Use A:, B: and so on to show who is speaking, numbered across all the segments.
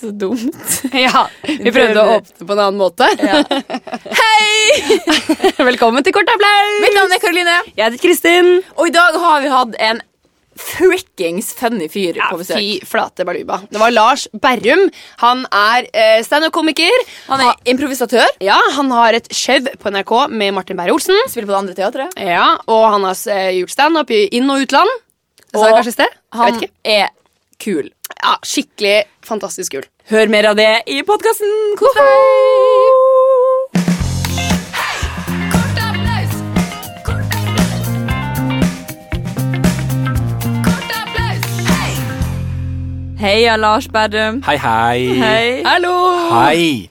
A: Så dumt.
B: Ja, Vi prøvde å åpne på en annen måte. Hei! Velkommen til Kort applaus!
A: Mitt navn er Karoline,
B: Jeg heter Kristin.
A: og i dag har vi hatt en frikkings funny fyr på besøk.
B: Fy flate baluba. Det var Lars Berrum. Han er eh, standup-komiker.
A: Han er improvisatør.
B: Ja, han har et show på NRK med Martin Beyer-Olsen.
A: Spiller på det andre teatret.
B: Ja, og han har eh, gjort standup i inn- og utland. Det sa jeg
A: Og
B: kanskje i sted? Jeg
A: Han
B: vet ikke.
A: er kul.
B: Ja, skikkelig fantastisk kul.
A: Hør mer av det i podkasten. Kos deg! Heia, Lars Berrum.
C: Hei, hei.
A: Hei.
B: Hallo!
C: Hei.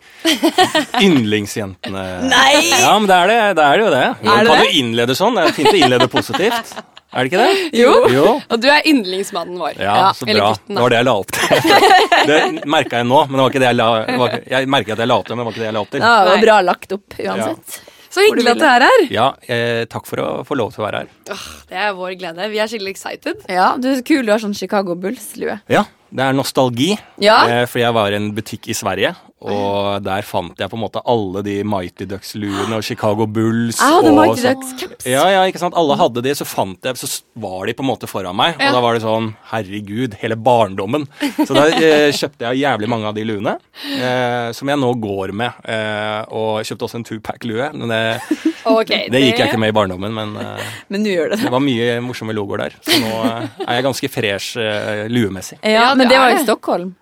C: Yndlingsjentene.
A: Nei!
C: Ja, men det er det, det, er det jo det. Nå
B: Er det
C: kan
B: det?
C: du innlede sånn. Det er fint å innlede positivt. Er det ikke det?
B: Jo.
C: Jo.
B: Og du er yndlingsmannen vår.
C: Ja, så
B: eller
C: bra.
B: gutten,
C: Det
B: da.
C: var det jeg la opp til. Det merka jeg nå, men det var ikke det jeg la det var ikke, Jeg merket at jeg la opp til, men det var ikke det jeg la opp til.
A: Ja, det var
B: Nei.
A: bra lagt opp uansett.
B: Så hyggelig at du er her.
C: Ja, eh, takk for å få lov til å være her.
B: Det er vår glede. Vi er skikkelig excited.
A: Ja, du er så kul. Du har sånn Chicago Bulls-lue.
C: Ja, det er nostalgi.
A: Ja.
C: Eh, fordi jeg var i en butikk i Sverige, og der fant jeg på en måte alle de Mighty Ducks-luene og Chicago Bulls.
A: Jeg hadde
C: og
A: Ah, Mighty
C: sånn.
A: Ducks-caps.
C: Ja, ja, ikke sant? Alle hadde de, så fant jeg, så s- var de på en måte foran meg.
B: Ja.
C: Og da var det sånn, herregud, hele barndommen. Så da eh, kjøpte jeg jævlig mange av de luene, eh, som jeg nå går med. Eh, og jeg kjøpte også en two-pack-lue, men det,
B: Ok,
C: det gikk jeg ikke med i barndommen. Men eh,
A: Men nå gjør det det.
C: det var mye morsomme logoer der, så nå eh, er jeg ganske fresh eh, luemessig.
A: Ja,
B: det
A: men det
B: er
A: var i
B: det.
A: Stockholm.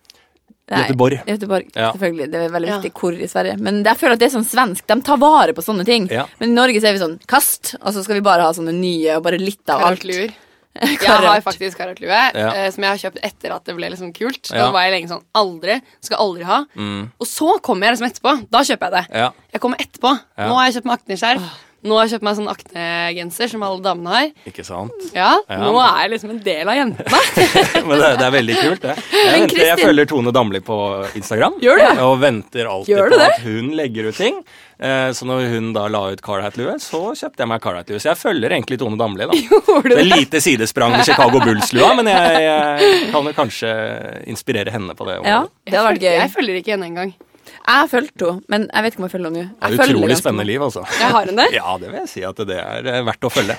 C: Göteborg.
A: Göteborg,
C: Ja.
A: selvfølgelig. Det er veldig
B: Ja.
A: viktig hvor i Sverige. Men jeg føler at det er sånn svensk. De tar vare på sånne ting.
C: Ja.
A: Men i Norge så er vi sånn kast, og så skal vi bare ha sånne nye og bare litt av alt.
B: Karatluer. Jeg
A: Karat.
B: har faktisk karatlue,
C: Ja.
B: eh, som jeg har kjøpt etter at det ble liksom kult. Da
C: Ja. Mm.
B: var jeg lenge sånn Aldri. Skal aldri ha. Og så kommer jeg liksom etterpå. Da kjøper jeg det.
C: Ja.
B: Jeg kommer etterpå.
C: Ja.
B: Nå har jeg kjøpt meg akneskjerf. Nå har jeg kjøpt meg sånn aknegenser som alle damene har.
C: Ikke sant?
B: Ja,
C: Ja.
B: Nå er jeg liksom en del av jentene.
C: Men det, det er veldig kult, det. Jeg, venter, jeg følger Tone Damli på Instagram.
A: Gjør du det?
C: Og venter alltid
A: Gjør du
C: på
A: det?
C: at hun legger ut ting. Eh, Så når hun da la ut Carlheit-lue, så kjøpte jeg meg Carlheit-lue. Så jeg følger egentlig Tone Damli, da. Det er lite sidesprang med Chicago Bulls-lua, men jeg, jeg kan jo kanskje inspirere henne på det. området.
A: Ja, det hadde vært
B: Jeg følger- Jeg
A: gøy.
B: følger ikke henne engang.
A: Jeg har fulgt henne, men jeg vet ikke om jeg følger henne nå.
C: Det
A: Jeg
C: er
A: følger
C: utrolig
A: ganske
C: spennende
A: mange.
C: liv, altså.
B: Jeg har henne.
C: Ja, det vil jeg si at det er eh, verdt å følge.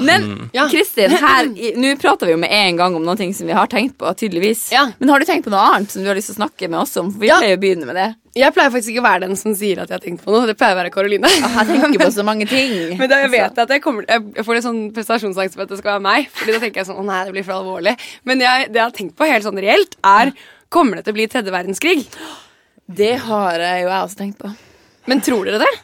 A: Men
B: Ja.
A: Kristin, her i- nå prater vi jo med en gang om noen ting som vi har tenkt på, tydeligvis.
B: Ja.
A: Men har du tenkt på noe annet som du har lyst til å snakke med oss om? For vi
B: Ja.
A: pleier jo å begynne med det.
B: Jeg pleier faktisk ikke å være den som sier at jeg har tenkt på noe. Det pleier å være Karoline.
A: Jeg tenker på så mange ting.
B: Men da jeg vet at jeg, kommer, jeg får litt sånn prestasjonsangst for at det skal være meg. Fordi da tenker jeg sånn, å nei, det blir for alvorlig. Men jeg, det jeg har tenkt på helt sånn reelt, er kommer det til å bli tredje verdenskrig?
A: Altså, Det har jeg jo jeg også tenkt på.
B: Men tror dere det?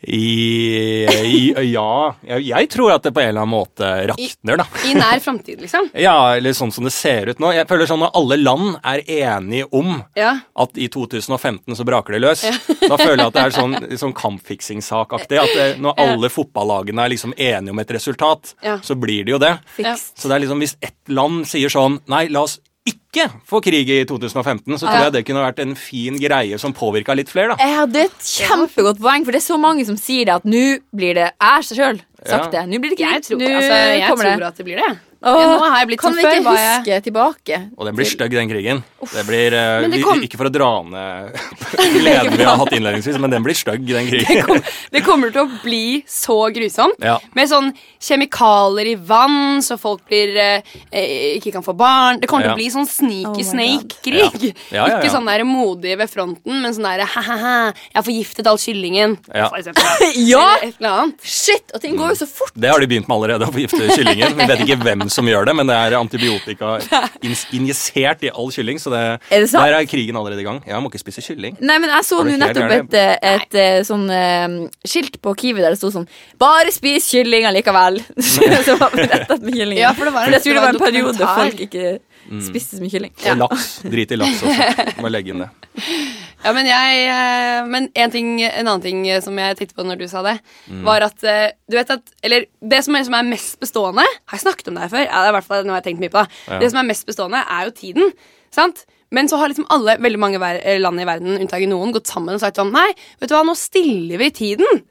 C: I, i, ja, jeg, jeg tror at det på en eller annen måte rakner, da.
B: I nær framtid, liksom?
C: Ja, eller sånn som det ser ut nå. Jeg føler sånn at alle land er enige om
B: Ja.
C: at i 2015 så braker det løs. Da føler jeg at det er sånn, sånn kampfiksingssak-aktig. At eh, når alle fotballagene er liksom enige om et resultat,
B: Ja.
C: så blir det jo det.
A: Fiks.
C: Så det er liksom hvis ett land sier sånn Nei, la oss ikke få krig i 2015, så tror jeg det kunne vært en fin greie som påvirka litt flere, da.
A: Jeg hadde et kjempegodt poeng, for det er så mange som sier det at nå blir det Jeg seg sjøl sagt det.
C: Ja.
A: Nå blir det ikke
B: Jeg tror,
A: nå
B: altså, jeg
A: kommer det.
B: tror at det blir det.
A: Åh,
B: Ja, nå har jeg blitt
A: kan
B: sånn
A: vi ikke
B: før, var jeg-
A: huske tilbake?
C: Og den blir stygg, den krigen. Det blir, eh,
B: Men det
C: vi-
B: kom-
C: Ikke for å dra ned gleden vi har hatt innledningsvis, men den blir stygg, den krigen.
B: Kom- Det kommer til å bli så grusomt.
C: Ja.
B: Med sånn kjemikalier i vann, så folk blir eh, eh, ikke kan få barn. Det kommer til
C: Ja.
B: å bli sånn
A: Oh
B: sneaky
A: my
B: snake-krig.
C: Ja. Ja, ja, ja.
B: Ikke sånn der modig ved fronten, men sånn der ha-ha-ha, jeg har forgiftet all kyllingen.
C: Ja.
B: For eksempel.
A: Ja!
B: Eller et eller annet.
A: Shit! Og ting går jo så fort.
C: Det har de begynt med allerede, å forgifte kyllingen. Vi vet ikke hvem som gjør det, men det er antibiotika ins- injisert i all kylling, så det,
A: Er det sant?
C: der er krigen allerede i gang. Ja, man må ikke spise kylling.
A: Nei, men Jeg så
C: Var
A: nå
C: det helt
A: nettopp
C: gærent?
A: et, eh, et, eh, sånn eh, skilt på Kiwi der det sto sånn 'Bare spis kylling allikevel'. Som var rettet med kyllingen.
B: Ja, for det var en-
A: jeg tror det var en
B: det var en
A: periode
B: dokumentar.
A: folk ikke spiste så mye kylling.
C: Og laks. Drit i laks også. Må legge inn det.
B: Ja, men jeg eh, Men en, ting, en annen ting eh, som jeg tittet på når du sa det, var at eh, Du vet at Eller det som er, som er mest bestående Har jeg snakket om det her før? Ja, det er i hvert fall noe jeg har tenkt mye på. da.
C: Ja.
B: Det som er mest bestående, er jo tiden. sant? Men så har liksom alle veldig mange ver- eh, land i verden, unntaket noen, gått sammen og sagt sånn Nei, vet du hva, nå stiller vi tiden.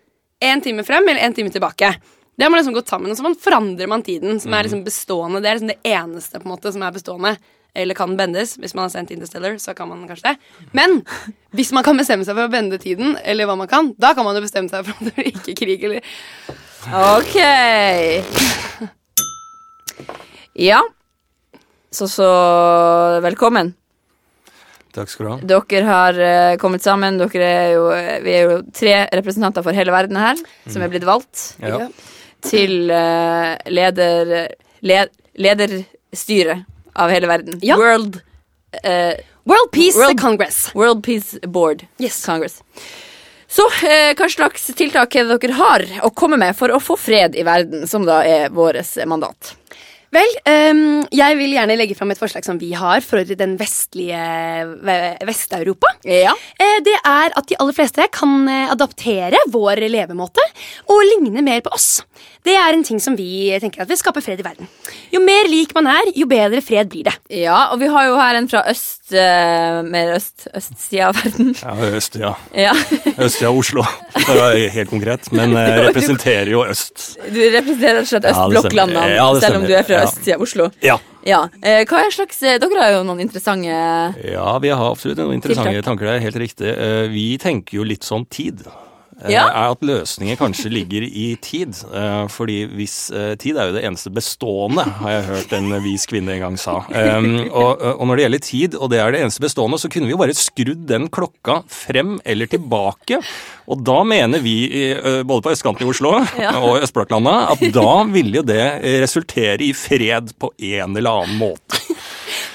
B: Én time frem eller én time tilbake. Det har man liksom gått sammen, og så man forandrer man tiden, som er liksom bestående. Det er liksom det eneste på en måte som er bestående. eller kan bendes. Hvis man har sendt Interstellar, så kan man kanskje det. Men hvis man kan bestemme seg for å bende tiden, eller hva man kan, da kan man jo bestemme seg for om det blir ikke krig eller
A: Ok. Ja. Så så velkommen.
C: Takk skal du ha.
A: Dere har eh, kommet sammen. Dere er jo, eh, vi er jo tre representanter for hele verden her, som er blitt valgt
C: Ja.
A: til eh, leder, led, lederstyret av hele verden.
B: Ja.
A: World, eh,
B: World Peace
A: World-
B: Congress.
A: World Peace Board.
B: Yes.
A: Congress. Så eh, hva slags tiltak er det dere har å komme med for å få fred i verden, som da er vårt mandat?
B: Vel, ehm, jeg vil gjerne legge fram et forslag som vi har for den vestlige ve- Vest-Europa.
A: Ja.
B: Eh, Det er at de aller fleste kan eh, adaptere vår levemåte og ligne mer på oss. Det er en ting som vi tenker at vil skape fred i verden. Jo mer lik man er, jo bedre fred blir det.
A: Ja, og vi har jo her en fra øst, eh, mer øst, østsida av verden.
C: Ja, øst, ja.
A: Ja.
C: Øst, ja, Oslo. For å være helt konkret. Men jeg representerer jo øst.
A: Du representerer rett og slett
C: Ja, det
A: østblokklandene,
C: stemmer. Ja, det
A: selv om du er fra
C: stemmer. Ja.
A: østsida av Oslo.
C: Ja.
A: Ja. Eh, hva er slags eh, Dere har jo noen interessante
C: ja, vi har absolutt noen interessante
A: Tiltak.
C: tanker der. Helt riktig. Eh, Vi tenker jo litt sånn tid. Eh,
A: Ja.
C: Er at løsninger kanskje ligger i tid. Eh, Fordi hvis eh, Tid er jo det eneste bestående, har jeg hørt en vis kvinne en gang sa. Eh, Og, og når det gjelder tid, og det er det eneste bestående, så kunne vi jo bare skrudd den klokka frem eller tilbake. Og da mener vi, i, eh, både på østkanten i Oslo og i Østblokklandet, at da ville jo det eh, resultere i fred på en eller annen måte.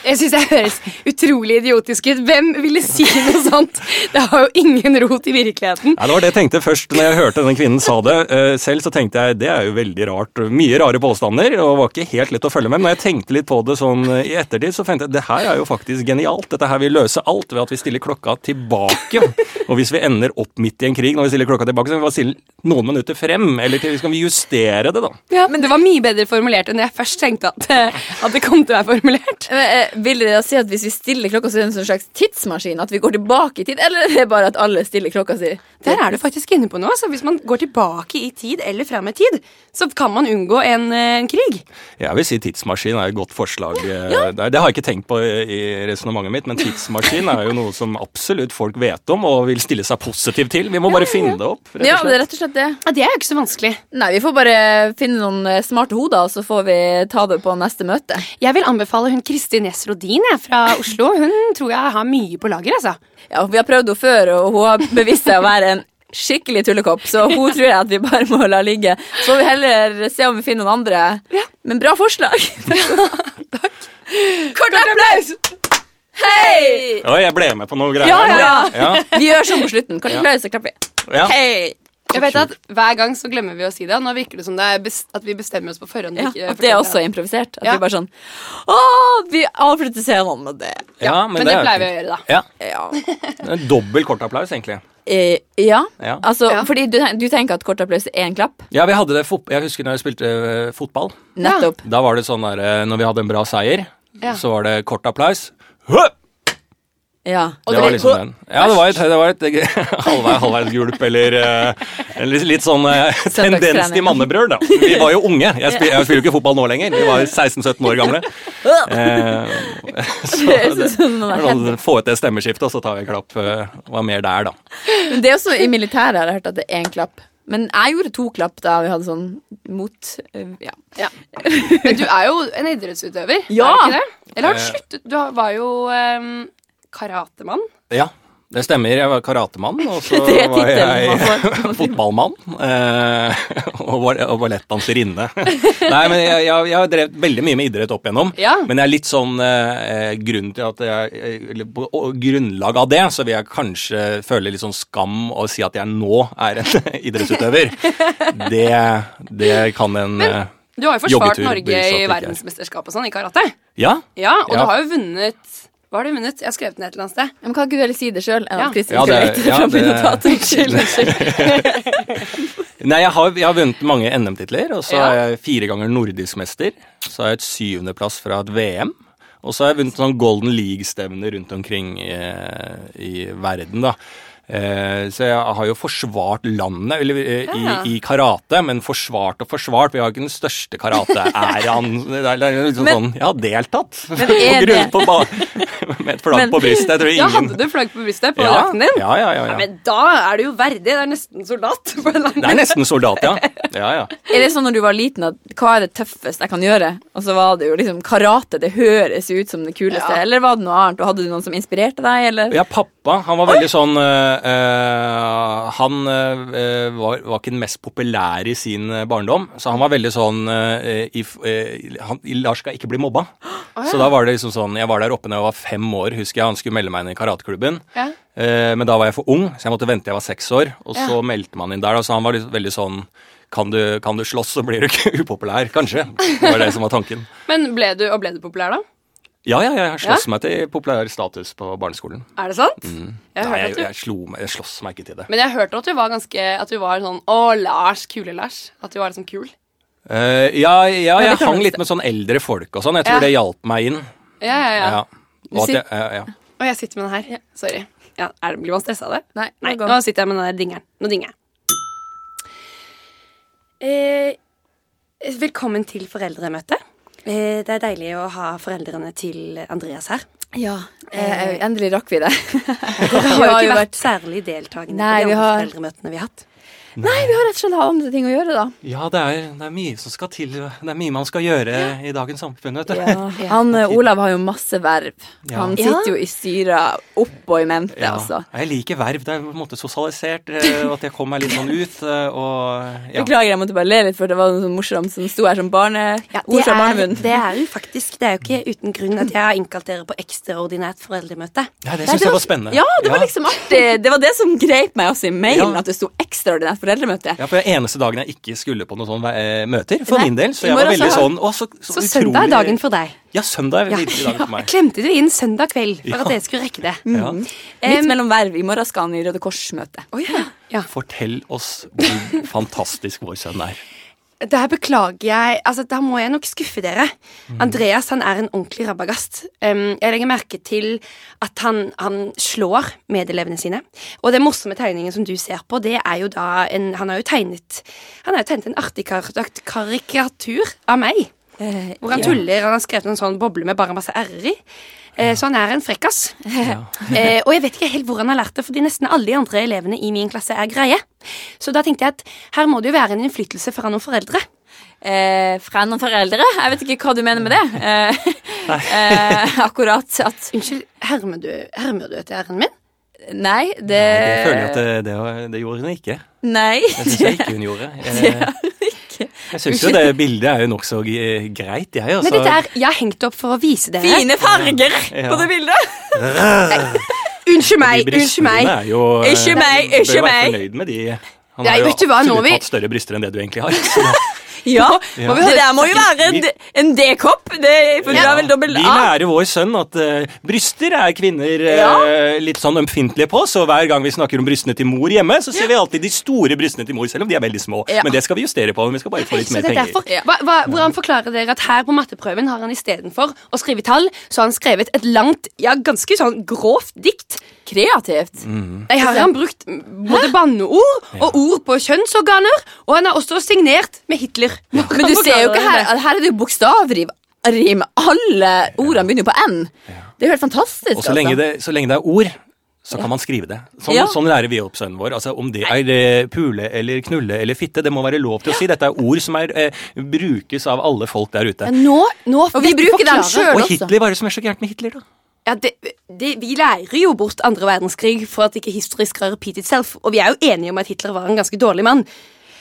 B: Jeg syns jeg høres utrolig idiotisk ut. Hvem ville si noe sånt? Det har jo ingen rot i virkeligheten.
C: Nei, det var det jeg tenkte først når jeg hørte denne kvinnen sa det. Eh, Selv så tenkte jeg det er jo veldig rart. Mye rare påstander, og var ikke helt lett å følge med. Men når jeg tenkte litt på det sånn eh, i ettertid, så tenkte jeg det her er jo faktisk genialt. Dette her vil løse alt ved at vi stiller klokka tilbake. Og hvis vi ender opp midt i en krig når vi stiller klokka tilbake, så kan vi bare stille noen minutter frem. Eller til, så kan vi justere det, da.
B: Ja, men det var mye bedre formulert enn jeg først tenkte at, eh, at det kom til å være formulert.
A: Men, eh, Vil dere da si at hvis vi stiller klokka, så er det en sånn slags tidsmaskin? At vi går tilbake i tid? Eller er det bare at alle stiller klokka si?
B: Der er du faktisk inne på noe, så Hvis man går tilbake i tid eller fram i tid, så kan man unngå en, eh, en krig.
C: Jeg vil si tidsmaskin er et godt forslag. eh, der. Det har jeg ikke tenkt på i- i resonnementet mitt, men tidsmaskin er jo noe som absolutt folk vet om og vil stille seg positiv til. Vi må bare finne det opp. rett og
A: Ja,
C: slett.
A: det er rett og slett det.
B: Ja, Det er jo ikke så vanskelig.
A: Nei, vi får bare finne noen eh, smarte hoder, og så får vi ta det på neste møte.
B: Jeg vil anbefale hun Kristin Næss Rodin jeg, fra Oslo. Hun tror jeg har mye på lager. altså.
A: Ja, Vi har prøvd henne før, og hun har bevist seg å være en skikkelig tullekopp. Så hun tror jeg at vi bare må la ligge. Så får vi heller se om vi finner noen andre. Men bra forslag. Kort applaus! Hei!
C: Ja, jeg ble med på noe greier.
A: Ja, ja.
C: Ja,
A: Vi gjør sånn på slutten. Kort applaus, så klapper vi.
C: ja.
A: Hei!
B: Jeg vet at Hver gang så glemmer vi å si det. og Nå virker det som det er best at vi bestemmer oss på forhånd.
A: Ja,
B: og
A: at det
B: ikke
A: er
B: forteller
A: også improvisert. At
B: Ja.
A: vi bare sånn Å, vi avslutter scenen med det.
C: Ja,
B: men det pleier vi å gjøre, da.
C: Ja,
A: Ja.
C: en Dobbel kort applaus, egentlig.
A: Eh, ja.
C: Ja.
A: Altså,
B: Ja.
A: fordi du, ten- du tenker at kort applaus er én klapp?
C: Ja, vi hadde det fot Jeg husker når jeg spilte eh, fotball.
A: Nettopp.
C: Da var det sånn der eh, Når vi hadde en bra seier,
B: Ja.
C: så var det kort applaus. Hø!
A: Ja.
C: Det var liksom den. Ja, det var et, det var et halvveis, halvveis gulp, eller eh, eller litt sånn eh, tendens til mannebrøl, da. Vi var jo unge. Jeg, spil, jeg spiller jo ikke fotball nå lenger. Vi var 16-17 år gamle. Eh, så
A: Det er
C: det,
A: sånn man er
C: sånn, få ut det stemmeskiftet, og så tar vi en klapp. eh, Var mer der, da.
A: Men det er også i militæret har jeg hørt at det er én klapp. Men jeg gjorde to klapp da vi hadde sånn mot øh, Ja.
B: Ja. Men du er jo en idrettsutøver.
A: Ja.
B: Er du ikke det? Eller har du
C: Eh.
B: sluttet? Du har- var jo ehm, karatemann.
C: Ja, det stemmer. Jeg var karatemann, og så
A: Det er
C: var
A: tittelen man
C: jeg fotballmann. Eh, og ball- og ballettdanserinne. Nei, men jeg, jeg, jeg har drevet veldig mye med idrett opp igjennom.
B: Ja.
C: Men jeg er litt sånn eh, grunn til at jeg eller På og grunnlag av det så vil jeg kanskje føle litt sånn skam og si at jeg nå er en idrettsutøver. Det, det kan en eh,
B: Du har jo forsvart
C: Joggetur,
B: Norge
C: bevis at
B: i
C: det ikke er.
B: verdensmesterskap og sånn i karate.
C: Ja?
B: Ja, Og
C: Ja.
B: du har jo vunnet Hva har du vunnet? Jeg har skrevet ned et eller annet sted.
A: Men kan ikke du heller si det sjøl?
B: Ja.
A: Kristin
C: Ja,
A: skal
C: det-
A: lete
C: ja,
A: fram
C: det-
A: mine notater. Unnskyld. unnskyld.
C: Nei, jeg har, jeg har vunnet mange NM-titler, og så
B: Ja.
C: er jeg fire ganger nordisk mester. Så har jeg et syvendeplass fra et VM. Og så har jeg vunnet sånn Golden League-stevner rundt omkring i, i eh, verden, da. Eh, så jeg har jo forsvart landet eller, eh,
B: Ja.
C: i, i karate, men forsvart og forsvart. Vi har jo ikke den største karateæraen. Det er- det er liksom
A: Men-
C: sånn Jeg har deltatt!
A: er
C: på grunn
A: det-
C: på ba med et flagg
A: Men-
C: på brystet. Jeg tror
B: Ja,
C: ingen
B: hadde du flagg på brystet på
C: ja,
B: drakten din?
C: ja, ja, ja,
B: Ja,
C: ja.
B: men da er du jo verdig. Det er nesten soldat. På en eller
C: Det er
B: annen.
C: nesten soldat, ja. ja, ja.
A: Er det sånn når du var liten at hva er det tøffeste jeg kan gjøre? Og så var det jo liksom karate, det høres jo ut som det kuleste.
B: Ja.
A: Eller var det noe annet? Og hadde du noen som inspirerte deg, eller?
C: Ja, pappa, han var veldig sånn eh, eh, Han eh, var, var ikke den mest populære i sin eh, barndom, så han var veldig sånn eh, i, f- eh, han, Lars skal ikke bli mobba. Så da var det liksom sånn Jeg var der oppe da jeg var fem år, husker jeg. Han skulle melde meg inn i karateklubben.
B: Ja.
C: Eh, men da var jeg for ung, så jeg måtte vente til jeg var seks år. Og
B: Ja.
C: så meldte man inn der. Da, så han var litt, veldig sånn kan du, kan du slåss, så blir du ikke upopulær. Kanskje. Det var det som var tanken.
B: Men ble du, og ble du populær, da?
C: Ja, ja, jeg sloss meg til populær status på barneskolen.
B: Er det sant? Jeg
C: Mm. Nei,
B: hørte
C: jeg,
B: at du
C: jeg, slo meg, jeg sloss meg ikke til det.
B: Men jeg hørte at du var ganske At du var sånn Å, Lars. Kule-Lars. At du var liksom kul.
C: Eh, ja, ja,
A: det
C: jeg
A: kan
C: hang
A: man
C: litt
A: se.
C: med sånn eldre folk og sånn. Jeg
B: Ja.
C: tror det hjalp meg inn.
B: Ja, ja, ja.
C: Ja. Og at
A: sit-
C: jeg, eh, ja, ja.
B: Og jeg sitter med den her. Sorry. Ja, er det, blir man stressa av det?
A: Nei,
B: Nei,
A: nå går-
B: nå sitter jeg med den der dingeren. Nå dinger jeg. Eh, velkommen til foreldremøte. Eh, det er deilig å ha foreldrene til Andreas her.
A: Ja, eh, endelig rakk vi det.
B: Dere
A: Vi
B: har jo
A: har jo
B: ikke
A: vært-
B: vært særlig deltakende
A: Nei,
B: på
A: vi
B: de andre
A: har-
B: foreldremøtene vi har hatt.
A: Nei, vi har rett og slett hatt andre ting å gjøre, da.
C: ja det, er, det er mye som skal til. Det er mye man skal gjøre i dagens samfunn, vet du.
A: Han eh, Olav har jo masse verv.
C: Ja.
A: Han sitter jo i styra opp og i mente,
C: Ja.
A: altså.
C: Jeg liker verv. Det er på en måte sosialisert, eh, og at jeg kom meg litt sånn ut. eh, Og ja.
A: Beklager, jeg måtte bare le litt, for det var noe sånn morsomt som sto her som barne... ord fra barnemunn.
B: det er jo faktisk Det er jo ikke uten grunn at jeg har innkalt dere på ekstraordinært foreldremøte.
C: ja, det syns jeg var spennende.
A: Ja, det var liksom artig. Det var det som greip meg også i mailen,
C: Ja.
A: at det sto ekstraordinært foreldremøte.
C: Ja, for det er eneste dagen jeg ikke skulle på noen sånn eh, møter, for
A: Nei,
C: min del. Så
A: i
C: jeg var
A: morgen så
C: veldig
A: har-
C: sånn å, så, så,
B: Så
C: utrolig
B: søndag er dagen for deg.
C: Ja, søndag er
B: Ja.
C: virkelig dagen for
B: Jeg
C: meg.
B: klemte det inn søndag kveld for
C: Ja.
B: at dere skulle rekke det.
C: Ja.
A: Midt Eh, mellom verv. I morgen skal han i Røde Kors-møte.
B: Ja.
C: Fortell oss hvor fantastisk vår sønn er.
B: Der beklager jeg Altså, Der må jeg nok skuffe dere.
C: Mm.
B: Andreas han er en ordentlig rabagast. Um, jeg legger merke til at han, han slår medelevene sine. Og den morsomme tegningen som du ser på, det er jo da en Han har jo tegnet Han har jo tegnet en artig kar karikatur av meg.
A: Eh,
B: Hvor han tuller. Han har skrevet en sånn boble med bare masse r-er i. Eh, Så han er en frekkas. eh, og jeg vet ikke helt hvor han har lært det, fordi nesten alle de andre elevene i min klasse er greie. Så da tenkte jeg at her må det jo være en innflytelse fra noen foreldre.
A: eh, fra noen foreldre? Jeg vet ikke hva du mener med det. Eh, eh, akkurat at
B: Unnskyld, hermer du, hermer du etter r-en min?
A: Nei, det,
B: Eh,
C: Det føler jeg at det, det, var- det gjorde hun ikke.
A: Nei.
C: Det syns jeg ikke hun gjorde. Jeg, jeg syns jo det bildet er jo nokså g- greit, jeg. Altså.
B: Men dette er, Jeg har hengt det opp for å vise dere.
A: Fine farger
C: Ja.
A: på det bildet!
B: Unnskyld
C: De
B: meg! Unnskyld
C: brystene
B: meg.
C: dine er jo, eh,
A: Ikke meg,
C: du
A: ikke
C: Bør være
A: meg.
C: fornøyd med de. Han
B: Nei,
C: har jo
B: vet du hva, nå
C: absolutt
B: vi-
C: hatt større bryster enn det du egentlig har. Så
A: Ja,
B: Må vi
A: Det
B: høre-
A: der må jo være en, d- en D-kopp! Det- For du
C: Ja.
A: har vel dobbel
C: Vi
A: A?
C: lærer vår sønn at eh, bryster er kvinner eh, litt sånn ømfintlige på, så hver gang vi snakker om brystene til mor hjemme, så sier vi alltid de store brystene til mor, selv om de er veldig små.
A: Ja.
C: Men det skal vi justere på, men vi skal bare få litt
B: Så
C: mer
B: det er
C: penger.
B: derfor, hva, hva, hvordan forklarer dere at her på matteprøven har han istedenfor å skrive tall, så har han skrevet et langt, ja, ganske sånn grovt dikt?
A: Kreativt.
B: Nei, her har han brukt både banneord og ord på kjønnsorganer, og han har også signert med Hitler.
A: Men du ser jo ikke her at her er det jo bokstavrim. Rim. Alle ordene begynner jo på N. Det er jo helt fantastisk.
C: Og så lenge,
A: altså.
C: det, så lenge det er ord, så kan man skrive det. Sånn,
A: Ja.
C: sånn lærer vi opp sønnen vår. Altså, om det er eh, pule eller knulle eller fitte, det må være lov til å si. Dette er ord som er, eh, brukes av alle folk der ute.
B: Nå, nå
A: Og vi
B: dette
A: bruker den
B: forklarer-
A: selv.
C: Og
A: også.
C: Hitler, hva er det som er så gærent med Hitler, da?
B: Ja, det, det, vi lærer jo bort andre verdenskrig for at ikke history skal repeat itself, og vi er jo enige om at Hitler var en ganske dårlig mann.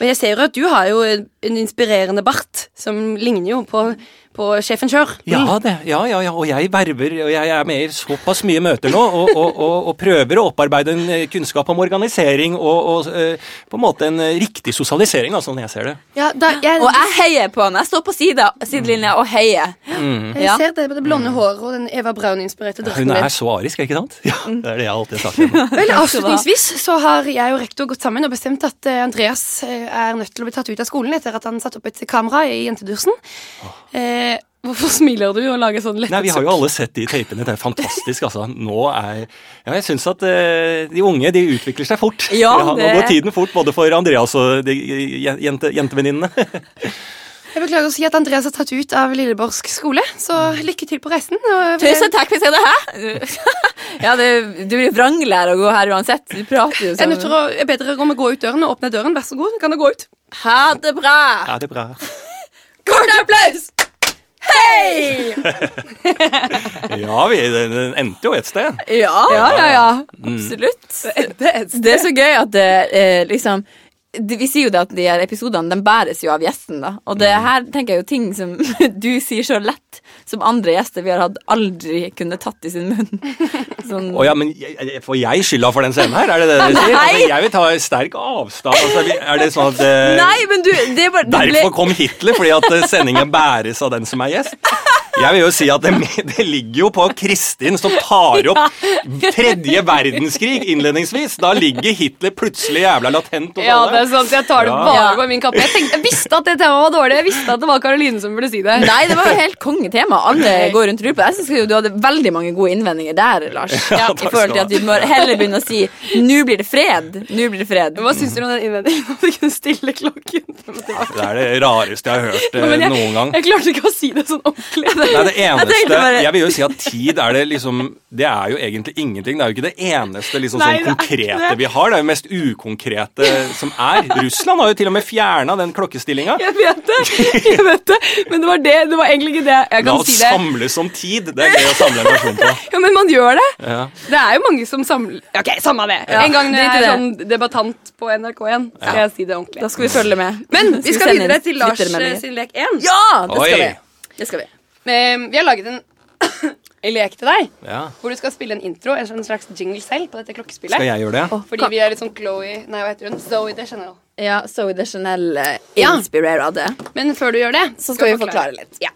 B: Men jeg ser jo at du har jo en en inspirerende bart som ligner jo på, på sjefen Schør.
A: Mm.
C: Ja, det, ja, ja, ja, og jeg verver, og jeg er med i såpass mye møter nå, og, og, og, og prøver å opparbeide en eh, kunnskap om organisering og, og eh, på en måte en eh, riktig sosialisering, altså, sånn jeg ser det.
B: Ja, da, jeg,
A: Og jeg heier på han. Jeg står på sida,
C: Mm.
A: sidelinja og heier.
B: jeg
A: Ja.
B: ser det med det blonde håret og den Eva Braun-inspirerte drakten
C: Hun
B: din.
C: er så arisk, ikke sant? Ja,
A: Mm.
C: det er det jeg alltid har sagt. henne.
B: Vel,
A: Takk skal du ha.
B: Avslutningsvis så har jeg og rektor gått sammen og bestemt at eh, Andreas eh, er nødt til å bli tatt ut av skolen etter at han satte opp et kamera i jentedusen. Eh, Hvorfor smiler du og lager sånn lettet
C: Nei, Vi har jo alle sett de tapene. Det er fantastisk, altså. Nå er Ja, jeg syns at eh, de unge de utvikler seg fort.
A: Ja,
C: Nå
A: det-
C: går tiden fort, både for Andreas og de jen- jente, jentevenninnene.
B: Jeg beklager å si at Andreas er tatt ut av Lilleborsk skole, så lykke til på reisen. og-
A: Tusen takk, vi skal det her! Ja, det, du blir vranglærer å gå her uansett. Du prater jo
B: Jeg er nødt til
A: sånn.
B: å, jeg er bedre om å gå ut døren og åpne døren. Vær så god, kan du gå ut.
A: Ha det bra!
C: Ja, det er bra.
B: Kort applaus!
A: Hei!
C: Ja, vi, den den endte jo et sted.
A: Ja, ja, ja. ja.
C: Mm.
A: Absolutt. Det er så gøy at det eh, liksom det- vi sier jo det at de her episodene de bæres jo av gjesten. da Og det
C: Mm.
A: her tenker jeg jo ting som du sier så lett, som andre gjester vi har hatt, aldri kunne tatt i sin munn. Sånn,
C: Å ja, men jeg- jeg- får jeg skylda for den scenen her? Er det det dere sier?
A: Nei.
C: Altså, jeg vil ta sterk avstand. Altså, vi- er det sånn at eh,
A: Nei, men du det er bare, det ble,
C: Derfor kom Hitler, fordi at eh, sendingen bæres av den som er gjest. Jeg vil jo si at det, det ligger jo på Kristin som tar opp tredje verdenskrig innledningsvis. Da ligger Hitler plutselig jævla latent hos
D: Ja,
C: alle.
D: det er sant. Jeg tar det
C: Ja.
D: bare
A: Ja.
D: på min kappe. Jeg, tenkte, jeg visste at det temaet var dårlig. Jeg visste at det var Karoline som burde si det.
A: Nei, det var jo helt kongetema. Alle går rundt og lurer på det. Jeg synes jo du hadde veldig mange gode innvendinger der, Lars.
C: Ja,
A: I
C: takk
A: forhold
C: skal du
A: til
C: ha.
A: at vi må heller begynne å si 'nå blir det fred'. Nå blir det fred.
D: Hva syns dere om den innvendingen om at vi kunne stille klokken?
C: Det er det rareste jeg har hørt eh,
D: Men jeg,
C: noen gang.
D: jeg klarte ikke å si det sånn ordentlig.
C: Det er det
A: tenkte
C: eneste,
A: bare-
C: jeg vil jo si at tid er det liksom Det er jo egentlig ingenting. Det er jo ikke det eneste liksom sånn
D: Nei, det er ikke
C: konkrete
D: det.
C: vi har. Det er jo mest ukonkrete som er. Russland har jo til og med fjerna den klokkestillinga.
D: Jeg vet det, jeg vet det, men det var, det, det var egentlig ikke det. Jeg
C: La
D: kan
C: oss
D: si det.
C: samles om tid. Det er gøy å samle en person på.
D: Ja, men man gjør det.
C: Ja.
D: Det er jo mange som samler Ok, samme det.
A: Ja,
D: En gang når
A: drit i
D: jeg er
A: det.
D: sånn debattant på NRK1, skal jeg si det ordentlig.
A: Da skal vi følge med.
B: Men vi skal
A: sende inn
B: videre til Lars eh,
A: Twitter-meldinger.
B: sin lek 1.
A: Ja, det skal,
C: Oi.
A: vi. det skal vi.
B: Vi har laget en, en lek til deg,
C: Ja.
B: hvor du skal spille en intro, en sånn slags jingle selv, på dette klokkespillet.
C: Skal jeg gjøre det?
B: Fordi vi er litt sånn Chloé Nei, hva heter hun? Zoe de Chanel.
A: Ja, Zoe de Chanel eh,
B: Ja.
A: inspirerer av det.
B: Men før du gjør det,
A: Så skal vi forklare litt.
B: Ja.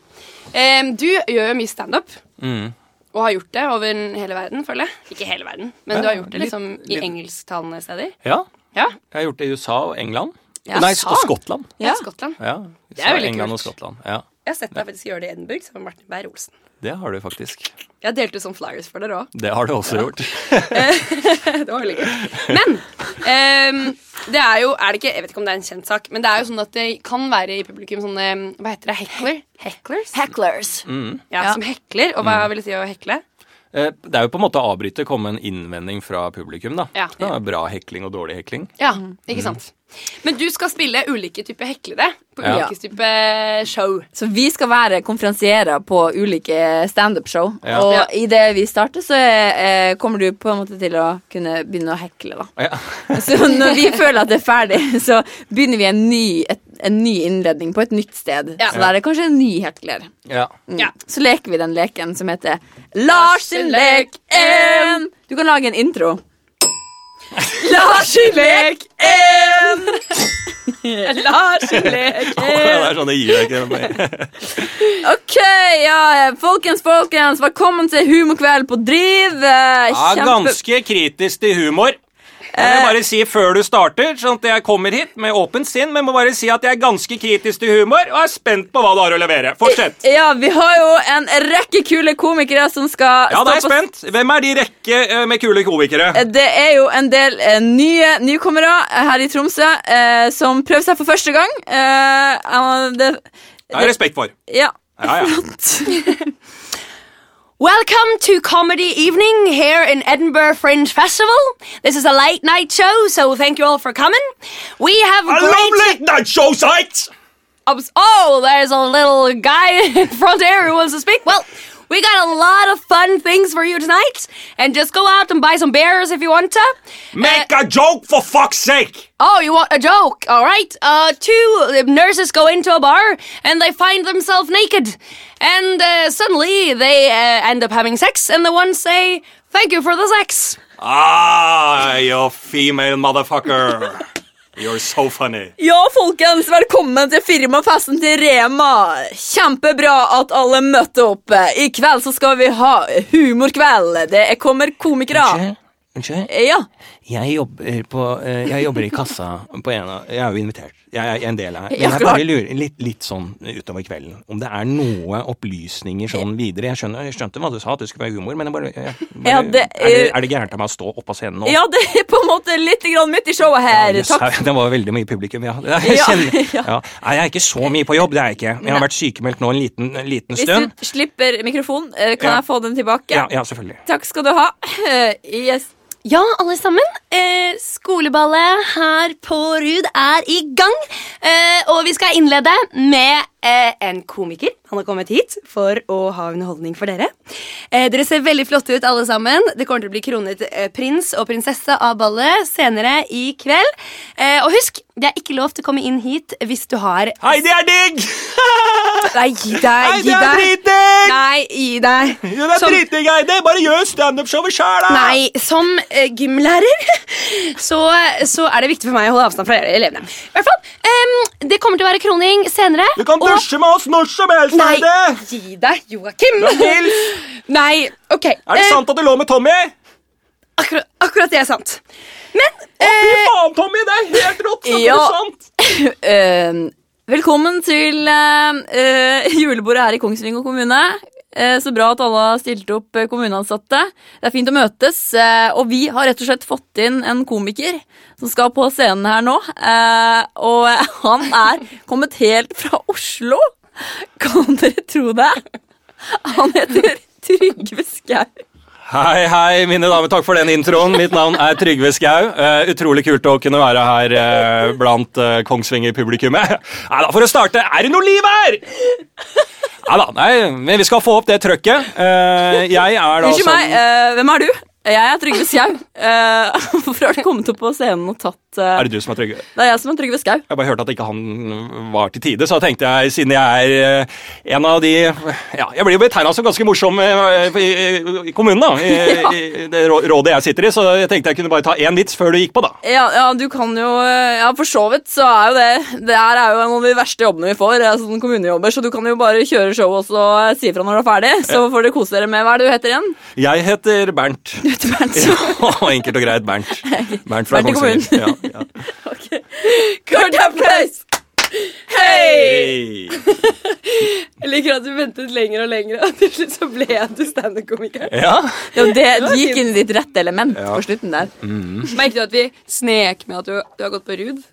B: Em, du gjør jo mye standup,
C: Mm.
B: og har gjort det over en- hele verden, føler jeg. Ikke hele verden, men
C: Ja,
B: du har gjort det
C: litt-
B: liksom i
C: litt.
B: engelsktalende steder.
C: Ja,
B: Ja.
C: jeg har gjort det i USA og England.
A: Ja,
C: Nei,
A: USA.
C: og Skottland.
B: ja.
A: Ja.
B: Skottland.
C: Ja, USA,
B: er veldig
C: England
B: kult.
C: og Skottland. Ja,
B: Jeg har sett deg faktisk gjøre det i Edinburgh sammen med Martin Beyer-Olsen.
C: det har du faktisk.
B: Jeg delte ut sånne flyers for dere òg.
C: Det har du også gjort.
B: Det var veldig gøy. Men ehm, det er jo er det ikke, Jeg vet ikke om det er en kjent sak, men det er jo sånn at det kan være i publikum sånne Hva heter det? Heckler? Hecklers?
A: Hecklers.
C: Mm.
B: ja,
A: ja.
B: Som hekler. Og hva vil det si å hekle?
C: Eh, Det er jo på en måte å avbryte, komme en innvending fra publikum, da.
B: Ja.
C: Det kan være bra hekling og dårlig hekling.
B: Ja,
D: Mm.
B: ikke sant? Men du skal spille ulike typer heklere på
C: Ja.
B: ulike typer eh, show.
A: Så vi skal være konferansierer på ulike standup-show.
C: Ja.
A: Og
B: Ja.
A: idet vi starter, så eh, kommer du på en måte til å kunne begynne å hekle, da.
C: Ja.
A: Så når vi føler at det er ferdig, så begynner vi en ny, et, en ny innledning på et nytt sted.
B: Ja.
A: Så da er det kanskje en ny hekler.
C: Ja.
A: Mm.
B: Ja.
A: Så leker vi den leken som heter Lars sin lek 1. Du kan lage en intro. Lars sin lek 1. Lars sin lek
C: Det er sånn det gir deg ikke.
A: OK, ja, folkens, folkens. Velkommen til humorkveld på Driv. Eh,
C: Ja,
A: Kjempe...
C: ganske kritisk til humor. Jeg vil bare si før du starter, sånn at jeg kommer hit med åpent sinn, men må bare si at jeg er ganske kritisk til humor, og er spent på hva du har å levere. Fortsett.
A: Ja, vi har jo en rekke kule komikere som skal
C: Ja, da er
A: stå
C: jeg
A: på Eh,
C: spent. Hvem er de rekke eh, med kule komikere?
A: Det er jo en del eh, nye nykommere eh, her i Tromsø eh, som prøver seg for første gang. Eh, eh, det,
C: Det har jeg respekt for.
A: ja.
C: Ja, ja.
D: Welcome to Comedy Evening here in Edinburgh Fringe Festival. This is a late night show, so thank you all for coming. We have
C: I love late night show sites!
D: ups- Oh, there's a little guy in front here who wants to speak. Well, we got a lot of fun things for you tonight, and just go out and buy some beers if you want to.
C: Make a joke, for fuck's sake!
D: Oh, you want a joke? All right. Uh, two nurses go into a bar and they find themselves naked, and uh, suddenly they uh, end up having sex, and the ones say, "Thank you for the sex."
C: Ah, you female motherfucker. You're so funny.
A: ja, folkens, velkommen til firmafesten til Rema. Kjempebra at alle møtte opp. I kveld så skal vi ha humorkveld. Det kommer komikere.
E: Unnskyld?
A: Ja.
C: Jeg jobber, på, eh, jeg jobber i kassa på en av Jeg er jo invitert. Jeg er en del her. Men
A: Ja,
C: jeg
A: klart.
C: bare lurer litt, litt sånn utover kvelden om det er noe opplysninger sånn videre. Jeg, skjønner, jeg skjønte hva du sa, at det skulle være humor, men jeg bare, jeg, bare
A: Ja, det,
C: er, det,
A: eh,
C: er det gærent av meg å stå oppå scenen nå?
A: Ja, det er på en måte litt grann midt i showet her.
C: Ja, yes,
A: Takk.
C: Det var veldig mye publikum, ja. Jeg,
A: Ja,
C: kjenner,
A: ja.
C: ja. Nei, jeg er ikke så mye på jobb, det er jeg ikke. Men jeg har vært sykemeldt nå en liten, en liten
A: Hvis
C: stund.
A: du slipper mikrofonen, eh, kan
C: Ja.
A: jeg få den tilbake?
C: Ja, ja, selvfølgelig.
A: Takk skal du ha. Yes.
D: Ja, alle sammen. Eh, skoleballet her på Rud er i gang. Eh, og vi skal innlede med eh, en komiker.
B: Han har kommet hit for å ha underholdning for dere. Eh, dere ser veldig flotte ut, alle sammen. Det kommer til å bli kronet eh, prins og prinsesse av ballet senere i kveld. Eh, og husk, det er ikke lov til å komme inn hit hvis du har
C: Hei, det er digg!
B: Nei, gi deg!
C: Hei,
B: Gi
C: det er
B: deg!
C: dritdigg!
B: Nei, gi deg.
C: Det er
B: Som-
C: dritdigg, Eide! Bare gjør standup-showet sjæl, da!
B: Nei, som eh, gymlærer så, så er det viktig for meg å holde avstand fra elevene.
D: I hvert fall, ehm, Det kommer til å være kroning senere.
C: Du kan
D: og-
C: dusje med oss når som helst,
B: Nei,
C: Eide!
B: gi deg, Joakim!
C: Ja, Nils,
B: Nei, ok.
C: er det
B: eh,
C: sant at du lå med Tommy?
B: Akkurat, akkurat det er sant. Men
C: Fy
B: eh,
C: faen, Tommy! Det er helt rått! Så
A: Ja.
C: sant!
A: Eh, velkommen til eh, eh, julebordet her i Kongsvinger kommune. Eh, så bra at alle har stilt opp eh, kommuneansatte. Det er fint å møtes. eh, og vi har rett og slett fått inn en komiker som skal på scenen her nå. Eh, og eh, han er kommet helt fra Oslo! Kan dere tro det? Han heter Trygve Skau.
C: Hei, hei, mine damer. Takk for den introen. Mitt navn er Trygve Skau. Eh, utrolig kult å kunne være her eh, blant eh, Kongsvinger-publikummet. Nei da, for å starte, er det noe liv her?! Nei da, nei, men vi skal få opp det trøkket. Eh, jeg er da
A: Unnskyld
C: som-
A: meg, eh, hvem er du? Jeg er Trygve Skau. Eh, Hvorfor har du kommet opp på scenen og tatt eh,
C: Er det du som er Trygve?
A: Det er jeg som er Trygve Skau.
C: Jeg bare hørte at ikke han var til tide, så da tenkte jeg, siden jeg er eh, en av de Ja, jeg blir jo betegna som ganske morsom eh, i, i- i kommunen, da. I, i det rå- rådet jeg sitter i, så jeg tenkte jeg kunne bare ta én vits før du gikk på, da.
A: Ja, ja, du kan jo eh, Ja, for så vidt så er jo det Det her er jo en av de verste jobbene vi får, eh, sånn kommunejobber, så du kan jo bare kjøre show og så eh, si ifra når du er ferdig. Så får dere kose dere med Hva er det du heter igjen?
C: Jeg heter Bernt.
A: Du heter Bernt.
C: Enkelt og greit Bernt. Bernt fra
A: Bernt i
C: Kongsvinger. Ja, ja.
A: Kurt applaus! Hei!
C: Hey.
B: jeg liker at du ventet lenger og lenger, og til slutt så ble jeg til standup-komiker.
C: Ja.
A: Ja, det du gikk inn i ditt rette element på slutten der.
B: Merket du at vi snek med at du, du har gått på Rud?